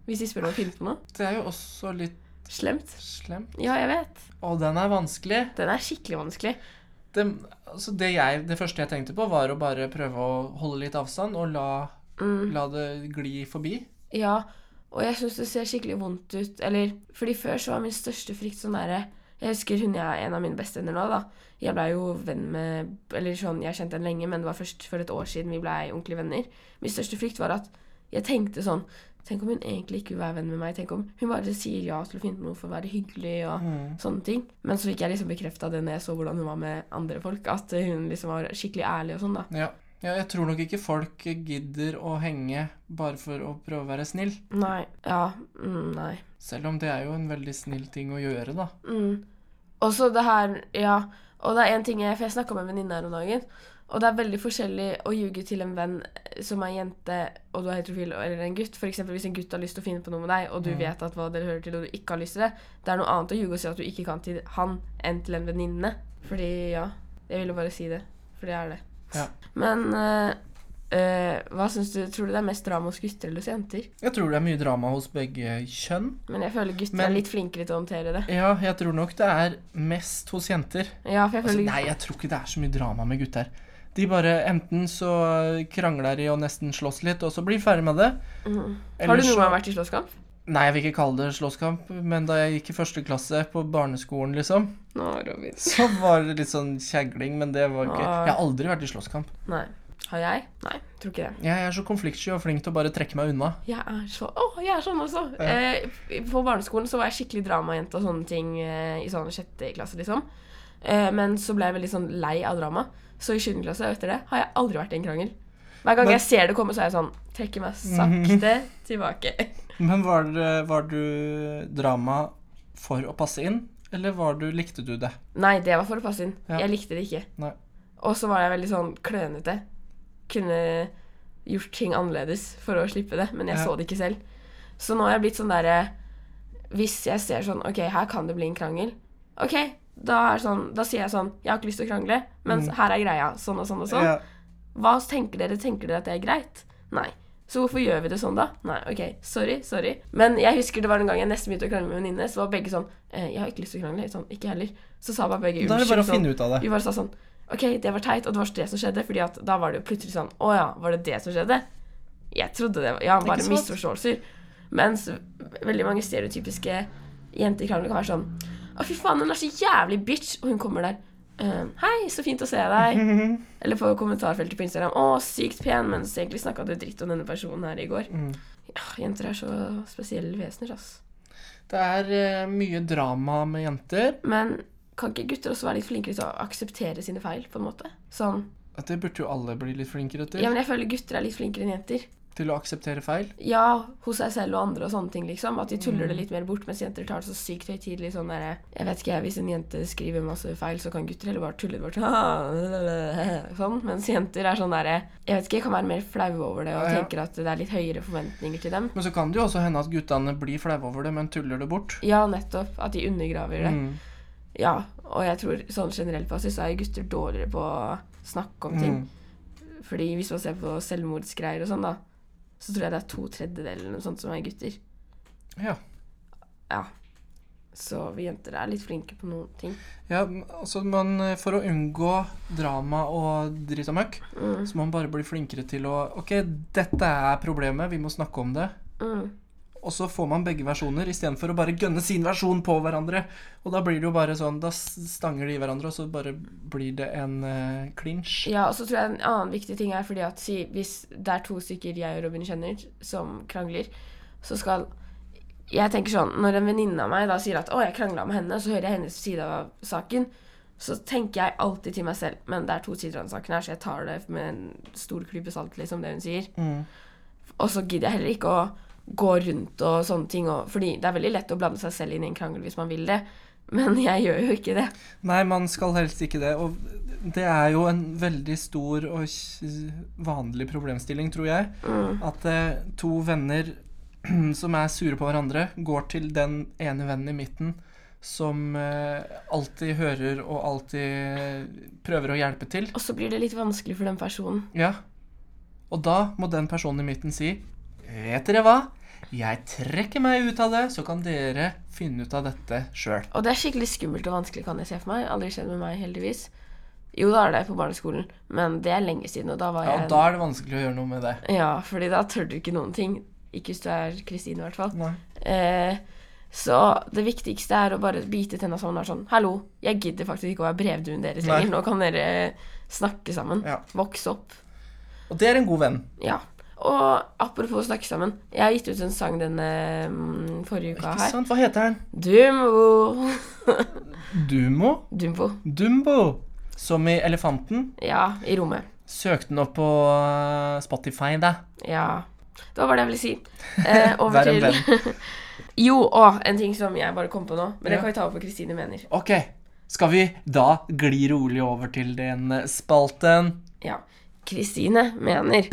Hvis de spør om å finne på noe.
Det er jo også litt
Slemt.
slemt.
Ja, jeg vet.
Og den er vanskelig.
Den er skikkelig vanskelig.
Det, altså det, jeg, det første jeg tenkte på, var å bare prøve å holde litt avstand og la,
Mm.
la det gli forbi.
Ja, og jeg syns det ser skikkelig vondt ut. Eller, fordi før så var min største frykt sånn derre Jeg husker hun jeg er en av mine bestevenner nå, da. Jeg blei jo venn med Eller sånn, jeg kjente henne lenge, men det var først for et år siden vi blei ordentlige venner. Min største frykt var at jeg tenkte sånn Tenk om hun egentlig ikke vil være venn med meg? Tenk om hun bare sier ja til å finne på noe for å være hyggelig og
Mm.
sånne ting? Men så fikk jeg liksom bekrefta det når jeg så hvordan hun var med andre folk, at hun liksom var skikkelig ærlig og sånn, da.
Ja. ja, jeg tror nok ikke folk gidder å henge bare for å prøve å være snill.
Nei. Ja. Mm, nei.
Selv om det er jo en veldig snill ting å gjøre, da.
Mm. Og så det her, ja. Og det er en ting jeg, for jeg snakka med en venninne her om dagen, Og det er veldig forskjellig å ljuge til en venn som er jente, og du er heterofil, eller en gutt. For eksempel hvis en gutt har lyst til å finne på noe med deg, og du
Mm.
vet at hva dere hører til, og du ikke har lyst til det. Det er noe annet å ljuge og si at du ikke kan til han, enn til en venninne. Fordi, ja. Jeg ville bare si det. For det er det.
Ja.
Men eh, eh, hva syns du Tror du det er mest drama hos gutter eller hos jenter?
Jeg tror det er mye drama hos begge kjønn.
Men jeg føler gutter
Men-
er litt flinkere til å håndtere det.
Ja, jeg tror nok det er mest hos jenter.
Ja, for jeg
Altså,
føler
nei, jeg tror ikke det er så mye drama med gutter. De bare enten så krangler de og nesten slåss litt, og så blir de ferdig med det.
Mhm. Har
Eller
du noen
så-
gang vært i slåsskamp?
Nei, jeg vil ikke kalle det slåsskamp, men da jeg gikk i første klasse på barneskolen, liksom,
Nå, Robin.
så var det litt sånn kjegling, men det var ikke
Ah.
Jeg har aldri vært i slåsskamp.
Nei. Har jeg? Nei, tror ikke det.
Jeg er så konfliktsky og flink til å bare trekke meg unna.
Jeg er så Å, jeg er sånn også!
Ja.
Eh, på barneskolen så var jeg skikkelig dramajente og sånne ting eh, i sånn sjette klasse, liksom. Eh, men så ble jeg veldig sånn lei av drama. Så i sjuende klasse og etter det har jeg aldri vært i en krangel. Hver gang
Men-
jeg ser det komme, så er jeg sånn Trekker meg sakte tilbake.
Men var, det- var du drama for å passe inn, eller var du, likte du det?
Nei, det var for å passe inn.
Ja.
Jeg likte det ikke.
Nei.
Og så var jeg veldig sånn klønete. Kunne gjort ting annerledes for å slippe det, men jeg
Ja.
så det ikke selv. Så nå har jeg blitt sånn derre Hvis jeg ser sånn OK, her kan det bli en krangel. OK, da, er det sånn, da sier jeg sånn Jeg har ikke lyst til å krangle, men
Mm.
her er greia. Sånn og sånn og sånn.
Ja.
Hva tenker dere? Tenker dere at det er greit? Nei. Så hvorfor gjør vi det sånn, da? Nei, ok, sorry, sorry. Men jeg husker det var en gang jeg nesten begynte å krangle med en venninne, så var begge sånn eh, Jeg har ikke lyst til å krangle. Sånn, ikke jeg heller. Så sa bare begge
Da er det bare å
sånn.
finne ut av det.
Vi bare sa sånn OK, det var teit, og det var det som skjedde, fordi at da var det jo plutselig sånn Å ja, var det det som skjedde? Jeg trodde det var Ja, bare
sant?
misforståelser. Mens veldig mange stereotypiske jentekrangler kan være sånn Å, fy faen, hun er så jævlig bitch! Og hun kommer der. «Eh, Hei, så fint å se deg. Eller på kommentarfeltet på Instagram. Å, sykt pen, mens egentlig snakka du dritt om denne personen her i går.
Mm.
Ja, jenter er så spesielle vesener, ass.
Det er eh, mye drama med jenter.
Men kan ikke gutter også være litt flinkere til å akseptere sine feil, på en måte? Sånn.
At det burde jo alle bli litt flinkere til.
Ja, men jeg føler gutter er litt flinkere enn jenter.
Til å akseptere feil.
Ja, hos seg selv og andre og sånne ting, liksom. At de tuller
Mm.
det litt mer bort, mens jenter tar det så sykt høytidelig sånn derre Jeg vet ikke, jeg, hvis en jente skriver masse feil, så kan gutter heller bare tulle det bort sånn. sånn. Mens jenter er sånn derre Jeg vet ikke, kan være mer flaue over det og
Ja, ja.
tenker at det er litt høyere forventninger til dem.
Men så kan det jo også hende at guttene blir flaue over det, men tuller det bort.
Ja, nettopp. At de undergraver det.
Mm.
Ja, og jeg tror sånn generelt basis så er gutter dårligere på å snakke om ting.
Mm.
Fordi hvis man ser på selvmordsgreier og sånn, da, så tror jeg det er to tredjedeler eller noe sånt som er gutter.
Ja.
Ja. Så vi jenter er litt flinke på noen ting.
ja m- altså, man, eh, for å unngå drama og dritt og møkk,
Mm.
så må man bare bli flinkere til å Ok, dette er problemet, vi må snakke om det.
Mm.
Og så får man begge versjoner istedenfor å bare gønne sin versjon på hverandre. Og da blir det jo bare sånn, da s- stanger de i hverandre, og så bare blir det en eh, clinch.
Ja, og så tror jeg en annen viktig ting er fordi at si, hvis det er to stykker jeg og Robin kjenner som krangler, så skal Jeg tenker sånn, når en venninne av meg da sier at 'Å, jeg krangla med henne', så hører jeg hennes side av saken, så tenker jeg alltid til meg selv Men det er to sider av den saken her, så jeg tar det med en stor klype salt, liksom, det hun sier.
Mm.
Og så gidder jeg heller ikke å gå rundt og sånne ting, og, fordi det er veldig lett å blande seg selv inn i en krangel hvis man vil det, men jeg gjør jo ikke det.
Nei, man skal helst ikke det. Og det er jo en veldig stor og kj- vanlig problemstilling, tror jeg.
Mm.
At eh, to venner som er sure på hverandre, går til den ene vennen i midten som eh, alltid hører og alltid eh, prøver å hjelpe til.
Og så blir det litt vanskelig for den personen.
Ja. Og da må den personen i midten si Vet dere hva? Jeg trekker meg ut av det, så kan dere finne ut av dette sjøl.
Og det er skikkelig skummelt og vanskelig, kan jeg se for meg. Aldri skjedd med meg, heldigvis. Jo, da er det på barneskolen, men det er lenge siden, og da var
Ja,
jeg
og da er det vanskelig å gjøre noe med det.
Ja, fordi da tør du ikke noen ting. Ikke hvis du er Kristine, i hvert fall.
Nei.
Eh, så det viktigste er å bare bite tenna sammen og være sånn Hallo, jeg gidder faktisk ikke å være brevduen deres
Nei.
lenger. Nå kan dere snakke sammen.
Ja.
Vokse opp.
Og det er en god venn.
Ja. Og apropos snakke sammen. Jeg har gitt ut en sang denne mm, forrige uka
Ikke
her.
sant? Hva heter den?
Dumbo.
Dumo?
Dumbo.
Dumbo. Som i Elefanten.
Ja, i rommet.
Søk den opp på eh, Spotify, da.
Ja. Det var bare det jeg ville si. Eh, over
Vær en
til Jo, og en ting som jeg bare kom på nå, men det
Ja.
kan vi ta opp på Kristine mener.
Ok, skal vi da gli rolig over til den eh, spalten
Ja. Kristine mener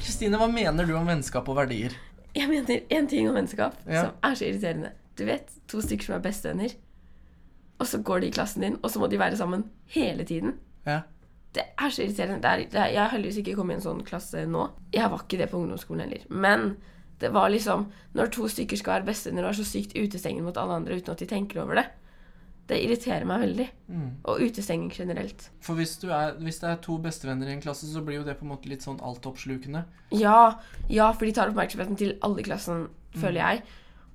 Kristine, hva mener du om vennskap og verdier?
Jeg mener én ting om vennskap
Ja.
som er så irriterende. Du vet to stykker som er bestevenner, og så går de i klassen din, og så må de være sammen hele tiden.
Ja.
Det er så irriterende. Det er, det er, jeg har heldigvis ikke kommet i en sånn klasse nå. Jeg var ikke det på ungdomsskolen heller. Men det var liksom Når to stykker skal være bestevenner og er så sykt utestengende mot alle andre uten at de tenker over det, det irriterer meg veldig.
Mm.
Og utestenging generelt.
For hvis, du er, hvis det er to bestevenner i en klasse, så blir jo det på en måte litt sånn altoppslukende.
Ja, ja, for de tar oppmerksomheten til alle i klassen, føler jeg.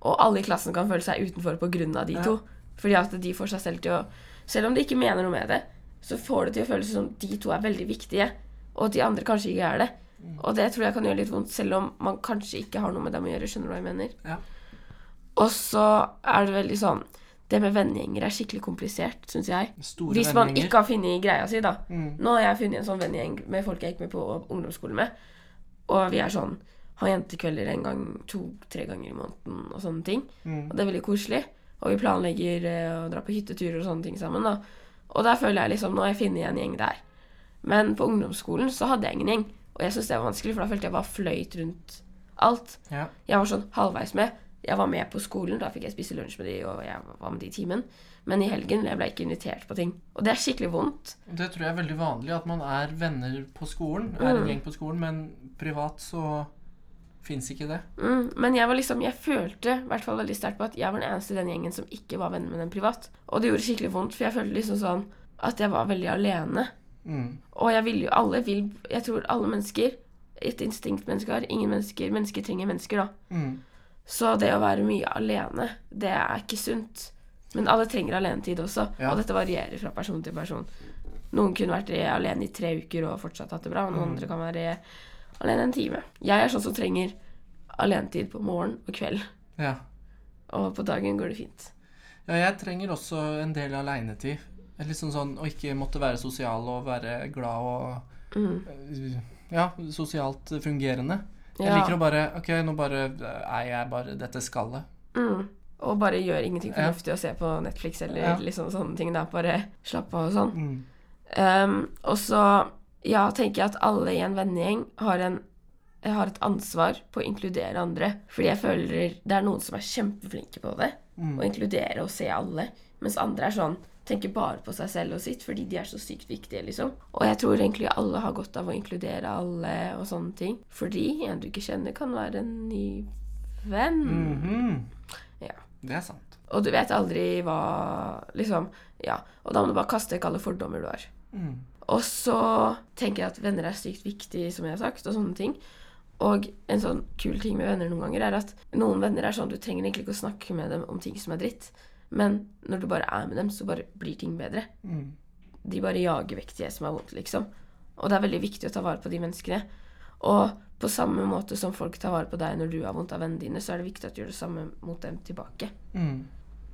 Og alle i klassen kan føle seg utenfor pga. de
Mm. Ja.
to. Fordi at de får seg selv til å Selv om de ikke mener noe med det, så får det til å føles som de to er veldig viktige, og at de andre kanskje ikke er det.
Mm.
Og det tror jeg kan gjøre litt vondt, selv om man kanskje ikke har noe med dem å gjøre. Skjønner du hva jeg mener?
Ja.
Og så er det veldig sånn Det med vennegjenger er skikkelig komplisert, syns jeg.
Store
Hvis man
vendinger.
ikke har funnet greia si, da.
Mm.
Nå har jeg funnet en sånn vennegjeng med folk jeg gikk med på ungdomsskolen med. Og vi er sånn har jentekvelder en gang, to-tre ganger i måneden og sånne ting.
Mm.
Og det er veldig koselig. Og vi planlegger eh, å dra på hytteturer og sånne ting sammen, da. Og der føler jeg liksom Nå har jeg funnet en gjeng der. Men på ungdomsskolen så hadde jeg ingen gjeng. Og jeg syntes det var vanskelig, for da følte jeg bare fløyt rundt alt.
Ja.
Jeg var sånn halvveis med. Jeg var med på skolen, da fikk jeg spise lunsj med de, og jeg var med de i timen. Men i helgen jeg ble ikke invitert på ting. Og det er skikkelig vondt.
Det tror jeg er veldig vanlig, at man er venner på skolen, er
Mm.
en gjeng på skolen, men privat så fins ikke det.
Mm, men jeg var liksom, jeg følte i hvert fall veldig sterkt på at jeg var den eneste i den gjengen som ikke var venner med den privat. Og det gjorde skikkelig vondt, for jeg følte liksom sånn at jeg var veldig alene.
Mm.
Og jeg ville jo alle vil, Jeg tror alle mennesker Et instinkt mennesker har. Ingen mennesker. Mennesker trenger mennesker, da.
Mm.
Så det å være mye alene, det er ikke sunt. Men alle trenger alenetid også,
Ja.
og dette varierer fra person til person. Noen kunne vært eh, alene i tre uker og fortsatt hatt det bra, og
Mm.
noen andre kan være eh, alene en time. Jeg er sånn som trenger alenetid på morgen og kveld,
Ja.
og på dagen går det fint.
ja. Jeg trenger også en del aleinetid. Litt sånn sånn å ikke måtte være sosial og være glad og
Mm.
øh, Ja, sosialt fungerende. Jeg
Ja.
liker å bare Ok, nå bare eh, er jeg bare dette skallet.
Mm. Og bare gjør ingenting
Ja.
fornuftig og se på Netflix eller
Ja.
liksom sånne ting. Da. Bare slapp av og sånn.
Mm.
Ehm, og så ja, tenker jeg at alle i en vennegjeng har, en, har et ansvar på å inkludere andre. Fordi jeg føler det er noen som er kjempeflinke på det,
Mm.
å inkludere og se alle. Mens andre er sånn tenker bare på seg selv og sitt, fordi de er så sykt viktige, liksom. Og jeg tror egentlig alle har godt av å inkludere alle og sånne ting. Fordi en du ikke kjenner, kan være en ny venn.
Mhm.
Ja.
Det er sant.
Og du vet aldri hva Liksom, ja. Og da må du bare kaste vekk alle fordommer du har.
Mm.
Og så tenker jeg at venner er sykt viktig, som jeg har sagt, og sånne ting. Og en sånn kul ting med venner noen ganger er at noen venner er sånn du trenger egentlig ikke å snakke med dem om ting som er dritt, men når du bare er med dem, så bare blir ting bedre.
Mm.
De bare jager vekk det som er vondt, liksom. Og det er veldig viktig å ta vare på de menneskene. Og på samme måte som folk tar vare på deg når du har vondt av vennene dine, så er det viktig at du gjør det samme mot dem tilbake.
Mm.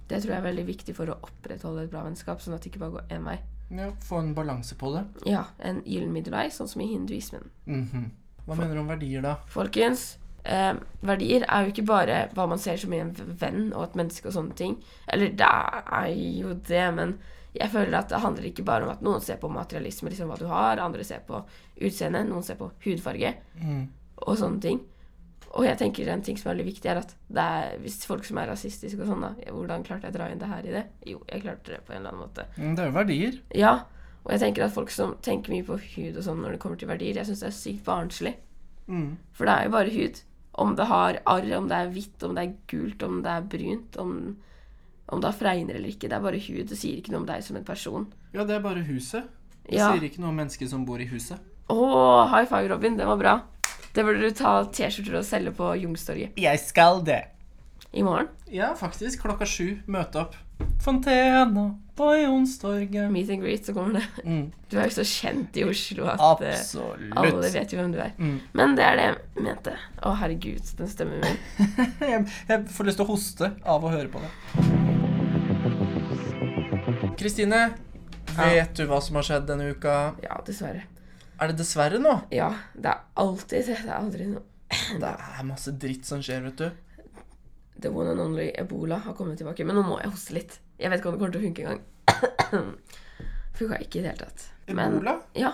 Det tror jeg er veldig viktig for å opprettholde et bra vennskap, sånn at det ikke bare går én vei.
Ja, få en balanse på det.
Ja, en gyllen middelvei, sånn som i hinduismen.
Mhm. Hva mener du om verdier, da?
Folkens, eh, verdier er jo ikke bare hva man ser som i en venn og et menneske og sånne ting. Eller det er jo det, men jeg føler at det handler ikke bare om at noen ser på materialisme, liksom hva du har, andre ser på utseende, noen ser på hudfarge
Mm.
og sånne ting. Og jeg tenker en ting som er veldig viktig, er at det er, hvis folk som er rasistiske og sånn, da, hvordan klarte jeg å dra inn det her i det? Jo, jeg klarte det på en eller annen måte.
Mm, Det er jo verdier.
Ja, og jeg tenker at folk som tenker mye på hud og sånn når det kommer til verdier, jeg syns det er sykt barnslig.
Mm.
For det er jo bare hud. Om det har arr, om det er hvitt, om det er gult, om det er brunt, om, om det har fregner eller ikke. Det er bare hud. Det sier ikke noe om deg som en person.
Ja, det er bare huset. Det
Ja.
sier ikke noe om mennesket som bor i huset.
Å, high five, Robin. Det var bra. Det burde du ta T-skjorter og selge på Jungstorget
Jeg skal det.
i morgen.
Ja, faktisk. Klokka sju. Møte opp. Fontena på Jonstorget.
Meet and greet, så kommer det.
Mm.
Du er jo så kjent i Oslo at eh, alle
Absolutt.
vet jo hvem du er.
Mm.
Men det er det jeg mente. Å, herregud, den stemmen min.
Jeg, jeg får lyst til å hoste av å høre på det. Kristine, vet du hva som har skjedd denne uka?
Ja, dessverre.
Er det dessverre nå?
Ja, det er alltid det. Det er aldri noe
Det er masse dritt som skjer, vet du.
The one and only ebola har kommet tilbake. Men nå må jeg hoste litt. Jeg vet ikke om det kommer til å funke engang. Funka ikke i det hele tatt. Men
Ebola?
ja.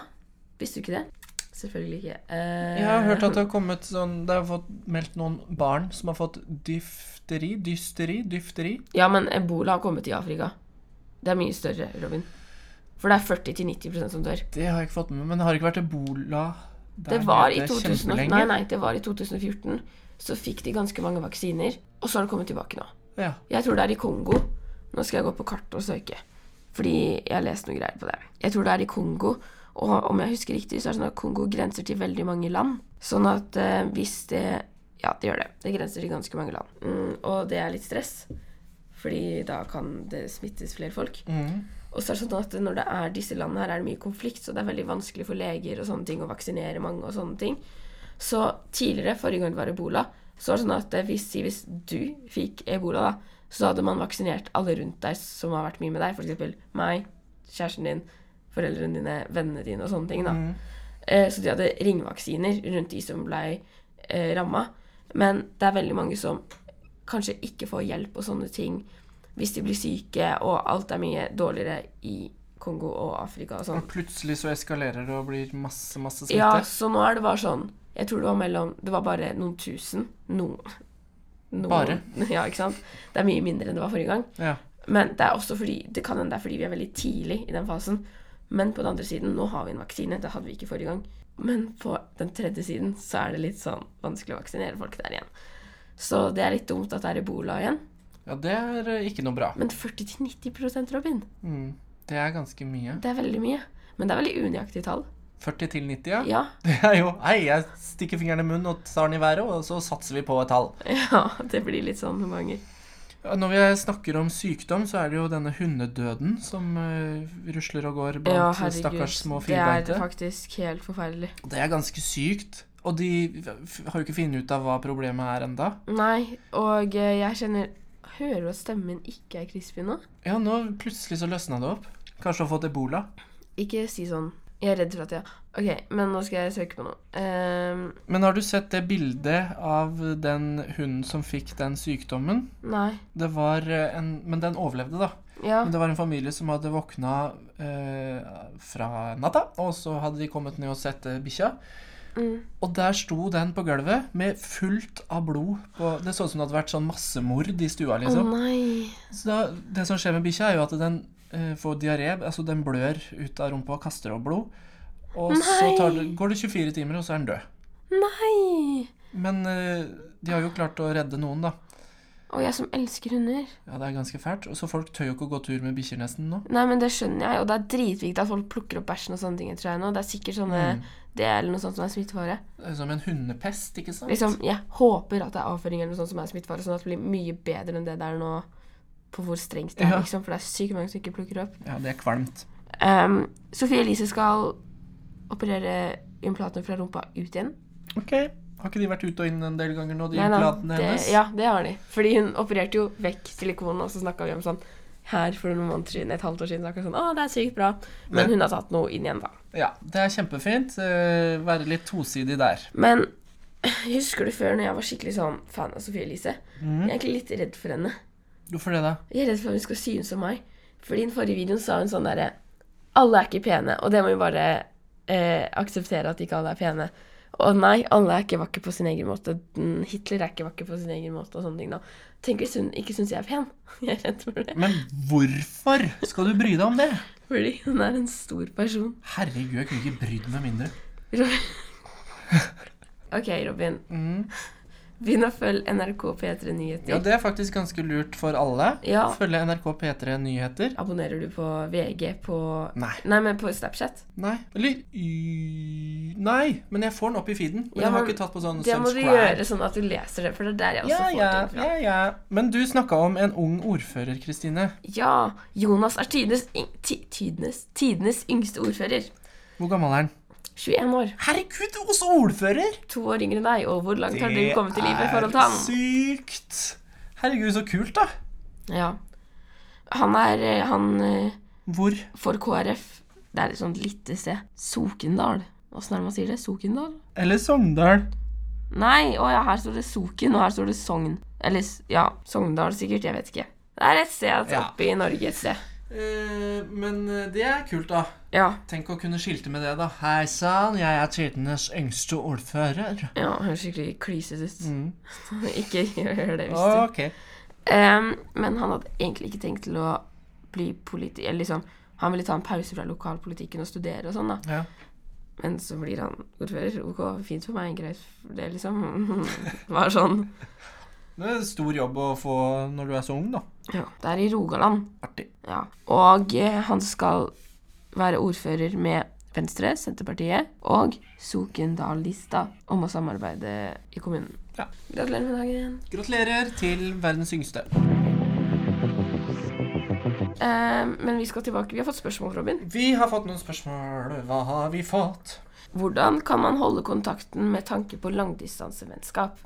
Visste du ikke det? Selvfølgelig ikke. Eh,
Jeg har hørt at det har kommet sånn Det har fått meldt noen barn som har fått dyfteri, dysteri, dyfteri.
Ja, men ebola har kommet i Afrika. Det er mye større, Robin. For det er 40-90 som dør.
Det har jeg ikke fått med meg, men det har ikke vært ebola der
Det var, i
nede
2000, og-
kjempelenge.
nei, nei, det var i 2014. Så fikk de ganske mange vaksiner. Og så har det kommet tilbake nå.
Ja.
Jeg tror det er i Kongo. Nå skal jeg gå på kartet og søke. Fordi jeg har lest noen greier på det. Jeg tror det er i Kongo. Og om jeg husker riktig, så er det sånn at Kongo grenser til veldig mange land. Sånn at eh, hvis det Ja, det gjør det. Det grenser til ganske mange land. Mm, og det er litt stress. Fordi da kan det smittes flere folk.
Mm.
Og så er det sånn at når det er disse landene her, er det mye konflikt, så det er veldig vanskelig for leger og sånne ting å vaksinere mange og sånne ting. Så tidligere, forrige gang det var ebola, så var det sånn at eh, hvis, si hvis du fikk ebola, da, så hadde man vaksinert alle rundt deg som har vært mye med deg, f.eks. meg, kjæresten din, foreldrene dine, vennene dine og sånne ting. da.
Mm.
Eh, Så de hadde ringvaksiner rundt de som ble eh, ramma. Men det er veldig mange som kanskje ikke får hjelp og sånne ting hvis de blir syke, og alt er mye dårligere i Kongo og Afrika og sånn.
Og plutselig så eskalerer det og blir masse, masse smitte.
Ja, så nå er det bare sånn Jeg tror det var mellom Det var bare noen tusen. Noen. noen.
Bare?
Ja, ikke sant? Det er mye mindre enn det var forrige gang.
Ja.
Men det er også fordi Det kan hende det er fordi vi er veldig tidlig i den fasen. Men på den andre siden, nå har vi en vaksine. Det hadde vi ikke forrige gang. Men på den tredje siden så er det litt sånn vanskelig å vaksinere folk der igjen. Så det er litt dumt at det er ebola igjen.
ja, det er eh, ikke noe bra.
Men 40-90 Robin,
Mm. Det er ganske mye.
det er veldig mye. Men det er veldig unøyaktige tall.
40 til 90, ja.
Ja,
Det er jo Hei, jeg stikker fingeren i munnen og tar den i været, og så satser vi på et tall.
ja, det blir litt sånn noen ganger.
Ja, Når vi snakker om sykdom, så er det jo denne hundedøden som eh, rusler og går
Ja,
blant
herregud.
stakkars små
Det er
firbeinte.
faktisk helt forferdelig.
Det er ganske sykt. Og de f- har jo ikke funnet ut av hva problemet er enda.
Nei, og eh, jeg kjenner Hører du at stemmen min ikke er crispy nå?
Ja, nå plutselig så løsna det opp. Kanskje har fått ebola.
Ikke si sånn. Jeg er redd for at jeg OK, men nå skal jeg søke på noe. Ehm,
Men har du sett det bildet av den hunden som fikk den sykdommen?
nei.
Det var eh, en Men den overlevde, da.
Ja.
Men det var en familie som hadde våkna eh, fra natta, og så hadde de kommet ned og sett eh, bikkja.
Mm.
Og der sto den på gulvet med fullt av blod. På, det så ut som det hadde vært sånn massemord i stua.
Å
liksom.
nei.
Så da, det som skjer med bikkja, er jo at den eh, får diaré. Altså den blør ut av rumpa og kaster opp blod. Og så
Nei.
tar det, går det 24 timer, og så er den død.
Nei.
Men eh, de har jo klart å redde noen, da.
Og jeg som elsker hunder.
Ja, det er ganske fælt. Og så folk tør jo ikke å gå tur med bikkjer nesten nå.
Nei, men det skjønner jeg, og det er dritviktig at folk plukker opp bæsjen og sånne ting. tror jeg nå. Det er sikkert sånne
Mm.
Det eller noe sånt som er smittefare.
Det er Som en hundepest, ikke sant?
Liksom, Jeg håper at det er avføring eller noe sånt som er smittefare, sånn at det blir mye bedre enn det der nå, på hvor strengt det er,
Ja.
liksom. For det er sykt mange som ikke plukker opp.
Ja, det er kvalmt.
Um, Sofie Elise skal operere implanten fra rumpa ut igjen.
Ok. Har ikke de vært ut og inn en del ganger nå, de
Nei da,
implantene
det,
hennes?
ja, det har de. Fordi hun opererte jo vekk silikonen, og så snakka vi om sånn her for noen måneder siden, et halvt år siden. snakket vi sånn, å, det er sykt bra.
Men-
Men hun har tatt noe inn igjen, da.
Ja, det er kjempefint. Eh, være litt tosidig der.
Men husker du før, når jeg var skikkelig sånn fan av Sophie Elise?
Mhm.
Jeg er egentlig litt redd for henne.
Hvorfor det, da?
Jeg er redd for at hun skal synes som meg. For i den forrige videoen sa hun sånn derre Alle er ikke pene, og det må vi bare eh, akseptere at ikke alle er pene. Og nei, alle er ikke vakre på sin egen måte. Mm, Hitler er ikke vakker på sin egen måte og sånne ting. da. Tenk hvis hun ikke syns jeg er pen. Jeg er redd for det.
Men hvorfor skal du bry deg om det?
Fordi hun er en stor person.
Herregud, jeg kunne ikke brydd meg mindre.
Robin. OK, Robin.
Mm.
Begynn å følge NRK P3 Nyheter.
Ja, det er faktisk ganske lurt for alle.
Ja.
Følge NRK P3 Nyheter.
Abonnerer du på VG på
Nei.
Nei, men på Snapchat?
Nei. Eller y- Nei, men jeg får den opp i feeden. Men
Ja,
jeg har
men
ikke tatt på sånn
Det må du gjøre sånn at du leser det, for det er der jeg også
Ja,
får
ja,
ting fra.
ja, ja. Men du snakka om en ung ordfører, Kristine.
Ja, Jonas er tidenes, yng- ti- tidenes, tidenes yngste ordfører.
Hvor gammel er han?
21 år.
Herregud, også ordfører!
To år yngre enn deg, og hvor langt har du kommet i livet i forhold til han?
sykt! Herregud, så kult, da.
Ja. Han er eh, Han eh,
Hvor?
for KrF Det er et sånt lite sted. Sokndal. Åssen er det man sier det? Sokndal?
Eller Sogndal.
Nei, å ja, her står det Soken, og her står det Sogn. Eller s- ja, Sogndal sikkert, jeg vet ikke. Det er et sted altså
Ja.
oppe i Norge et sted.
Eh, men eh, det er kult, da.
Ja.
Tenk å kunne skilte med det, da. Hei sann, jeg er tidenes yngste ordfører.
ja høres skikkelig klisete ut.
Mm.
ikke gjør det hvis du
Ok.
Ehm, Men han hadde egentlig ikke tenkt til å bli politi... Eller liksom, han ville ta en pause fra lokalpolitikken og studere og sånn, da.
Ja.
Men så blir han ordfører. OK, fint for meg, greit for det, liksom. Var sånn.
Det er en stor jobb å få når du er så ung, da.
Ja. Det er i Rogaland.
Artig.
Ja. Og eh, han skal være ordfører med Venstre, Senterpartiet og Sokndal-lista om å samarbeide i kommunen.
Ja.
Gratulerer med dagen.
Gratulerer til verdens yngste.
Eh, men vi skal tilbake. Vi har fått spørsmål, Robin.
Vi har fått noen spørsmål. Hva har vi fått?
Hvordan kan man holde kontakten med tanke på langdistansevennskap?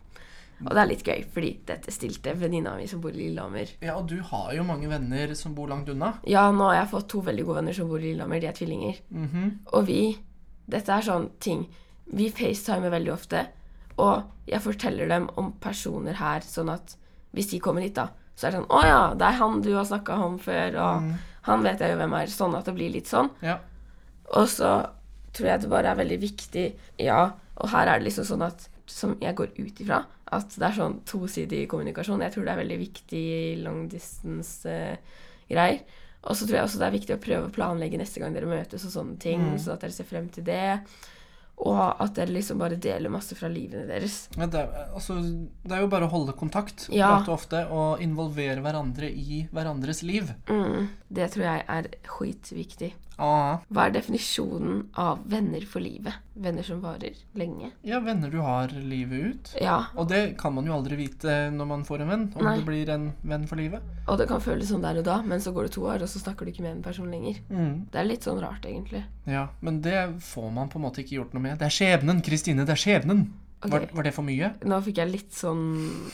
Og det er litt gøy, fordi dette stilte venninna mi som bor i Lillehammer.
Ja, og du har jo mange venner som bor langt unna.
Ja, nå har jeg fått to veldig gode venner som bor i Lillehammer. De er tvillinger.
Mhm.
Og vi Dette er sånn ting. Vi facetimer veldig ofte. Og jeg forteller dem om personer her, sånn at hvis de kommer hit, da, så er det sånn Å ja, det er han du har snakka om før, og han vet jeg jo hvem er. Sånn at det blir litt sånn.
Ja.
Og så tror jeg det bare er veldig viktig Ja, og her er det liksom sånn at Som jeg går ut ifra, at det er sånn tosidig kommunikasjon. Jeg tror det er veldig viktig long distance-greier. og så tror jeg også det er viktig å prøve å planlegge neste gang dere møtes og sånne ting, sånn at dere ser frem til det. Og at dere liksom bare deler masse fra livene deres.
Men det, er- altså, det er jo bare å holde kontakt
Ja.
prate ofte og involvere hverandre i hverandres liv.
Mm, det tror jeg er skitviktig.
Ah.
Hva er definisjonen av venner for livet? Venner som varer lenge?
Ja, venner du har livet ut.
Ja,
Og det kan man jo aldri vite når man får en venn, om
Nei.
det blir en venn for livet.
Og det kan føles sånn der og da, men så går det to år, og så snakker du ikke med den personen lenger.
Mm.
Det er litt sånn rart, egentlig.
Ja, Men det får man på en måte ikke gjort noe med. Det er skjebnen, Kristine! Det er skjebnen!
Ok.
Var, var det for mye?
Nå fikk jeg litt sånn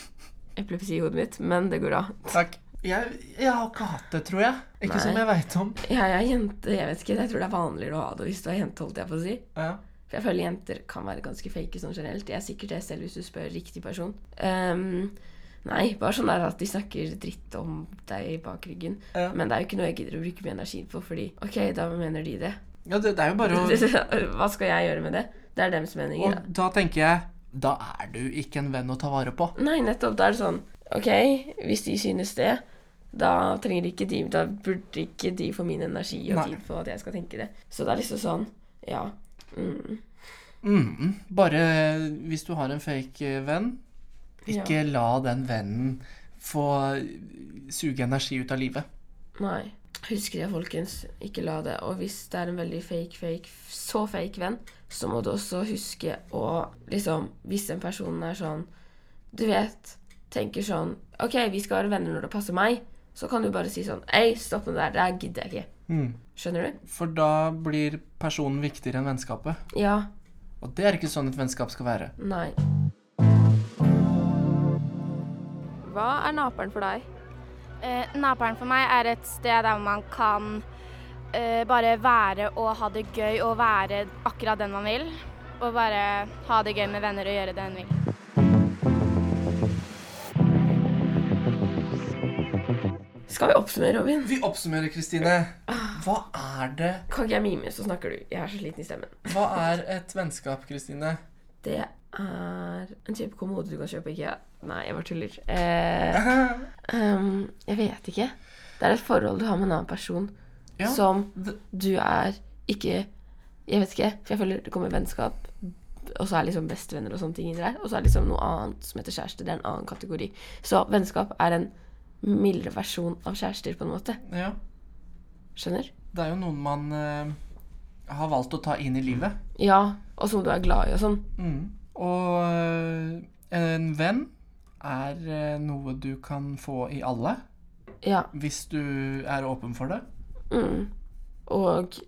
epilepsi i hodet mitt, men det går bra.
Takk. Jeg, jeg har ikke hatt det, tror jeg. Ikke
Nei.
som jeg veit om.
Jeg er jente, jeg vet ikke, jeg tror det er vanligere å ha det hvis du er jente, holdt jeg på å si.
Ja.
For jeg føler jenter kan være ganske fake sånn generelt. Jeg er sikkert det selv hvis du spør riktig person. Ehm, nei, bare sånn der at de snakker dritt om deg bak ryggen.
Ja.
Men det er jo ikke noe jeg gidder å bruke mye energi på, fordi OK, da mener de det.
Ja, det, det er jo bare å
Hva skal jeg gjøre med det? Det er dems meninger.
Mm. Og da tenker jeg Da er du ikke en venn å ta vare på.
Nei, nettopp. Da er det sånn OK, hvis de synes det, da trenger ikke de Da burde ikke de få min energi og
Nei.
tid på at jeg skal tenke det. Så det er liksom sånn Ja. Mm.
Mm. Bare hvis du har en fake eh, venn, ikke la den vennen få eh, suge energi ut av livet.
Nei. Husk det, folkens. Ikke la det. Og hvis det er en veldig fake, fake, så fake venn, så må du også huske å liksom Hvis den personen er sånn Du vet, tenker sånn OK, vi skal være venner når det passer meg. Så kan du bare si sånn Ei, stopp med det der. Det her gidder jeg ikke.
Mm.
Skjønner du?
For da blir personen viktigere enn vennskapet.
Ja.
Og det er ikke sånn et vennskap skal være.
Nei. Hva er naperen for deg?
Eh, naboen for meg er et sted der man kan eh, bare være og ha det gøy og være akkurat den man vil. Og bare ha det gøy med venner og gjøre det en vil.
Skal vi oppsummere, Robin?
Vi oppsummerer, Kristine. Hva er det
Kan ikke jeg mime, så snakker du. Jeg er så sliten i stemmen.
Hva er et vennskap, Kristine?
Det er en type kommode du kan kjøpe i IKEA. Nei, jeg bare tuller. Eh,
Ja,
ehm, jeg vet ikke. Det er et forhold du har med en annen person som
det-
du er ikke Jeg vet ikke, for jeg føler det kommer vennskap, og så er liksom bestevenner og sånne ting inni der. Og så er det liksom noe annet som heter kjæreste. Det er en annen kategori. Så vennskap er en mildere versjon av kjærester, på en måte.
ja.
Skjønner?
Det er jo noen man eh, har valgt å ta inn i livet.
Ja, og som du er glad i og sånn.
Mm. Og eh, en venn er eh, noe du kan få i alle,
Ja.
hvis du er åpen for det.
Mm. Og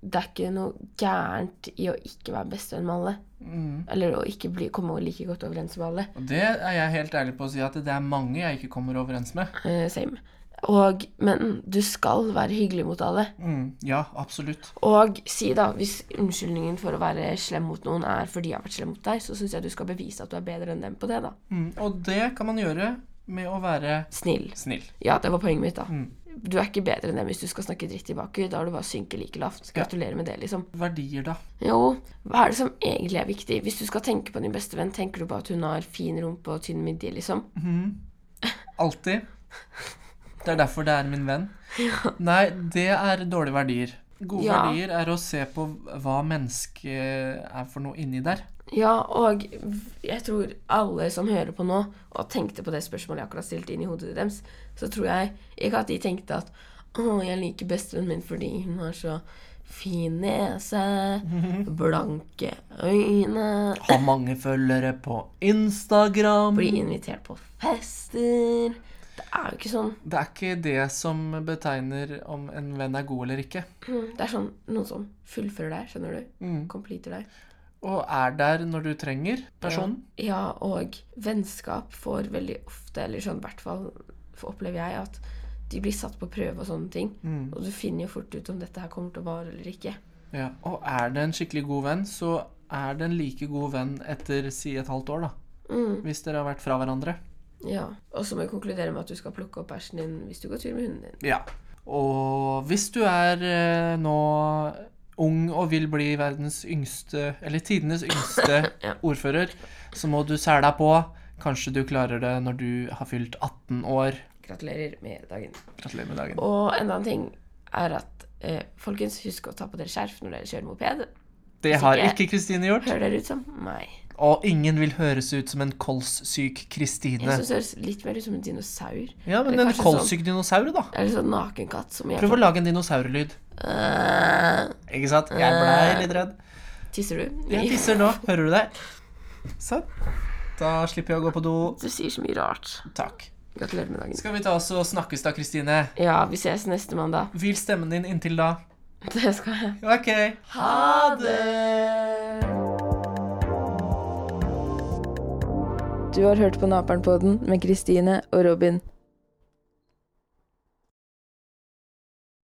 det er ikke noe gærent i å ikke være bestevenn med alle.
Mm.
Eller å ikke bli, komme like godt overens med alle.
Og det er jeg helt ærlig på å si at det er mange jeg ikke kommer overens med.
Eh, same. Og, men du skal være hyggelig mot alle.
Mm. Ja, absolutt.
Og si da, hvis unnskyldningen for å være slem mot noen er fordi jeg har vært slem mot deg, så syns jeg du skal bevise at du er bedre enn dem på det, da.
Mm. Og det kan man gjøre med å være
Snill.
snill.
Ja, det var poenget mitt, da.
Mm.
Du er ikke bedre enn dem hvis du skal snakke dritt tilbake. Da har du bare synket like lavt.
Ja.
Gratulerer med det, liksom.
Verdier, da.
Jo, hva er det som egentlig er viktig? Hvis du skal tenke på din beste venn, tenker du på at hun har fin rumpe og tynn midje, liksom?
Alltid. Det er derfor det er min venn. Nei, det er dårlige verdier. Gode
Ja.
verdier er å se på hva mennesket er for noe inni der.
Ja, og jeg tror alle som hører på nå, og tenkte på det spørsmålet jeg akkurat stilte inn i hodet deres, så tror jeg ikke at de tenkte at å, jeg liker bestevennen min fordi hun har så fin nese, blanke øyne,
Ha mange følgere på Instagram.
blir invitert på fester. Det er jo ikke sånn.
Det er ikke det som betegner om en venn er god eller ikke.
Det er sånn noen som fullfører deg, skjønner du?
Mm.
Completer deg.
Og er der når du trenger personen.
Eh, Ja, og vennskap får veldig ofte, eller sånn i hvert fall f- opplever jeg, at de blir satt på prøve og sånne ting.
Mm.
Og du finner jo fort ut om dette her kommer til å vare eller ikke.
Ja. Og er det en skikkelig god venn, så er det en like god venn etter si et halvt år, da.
Mm,
Hvis dere har vært fra hverandre.
ja. Og så må jeg konkludere med at du skal plukke opp bæsjen din hvis du går tur med hunden din.
Ja. Og hvis du er eh, nå ung og vil bli verdens yngste, eller tidenes yngste
Ja.
ordfører, så må du sæle deg på. Kanskje du klarer det når du har fylt 18 år.
Gratulerer med dagen.
Gratulerer med dagen.
Og enda en ting er at eh, folkens, husk å ta på dere skjerf når dere kjører moped.
Det
hvis
har
ikke-
ikke Kristine gjort.
Hører dere ut som meg?
Og ingen vil høres ut som en kolssyk
Jeg
Kristine.
synes det høres litt mer ut som en dinosaur.
Ja, men
Eller
en
kanskje
kolssyk dinosaur, da.
Eller sånn nakenkatt som jeg
Prøv å lage en dinosaurlyd.
Øh,
Ikke sant? Jeg blei litt redd.
Tisser du?
Jeg tisser nå. Hører du det? Sånn. Da slipper jeg å gå på do.
Du sier så mye rart.
Takk.
Gratulerer med dagen.
Skal vi ta oss og snakkes da, Kristine?
Ja, vi ses neste mandag.
Hvil stemmen din inntil da.
Det skal jeg.
Ok. Ha det!
Du har hørt på Naperen-podden med Kristine og Robin.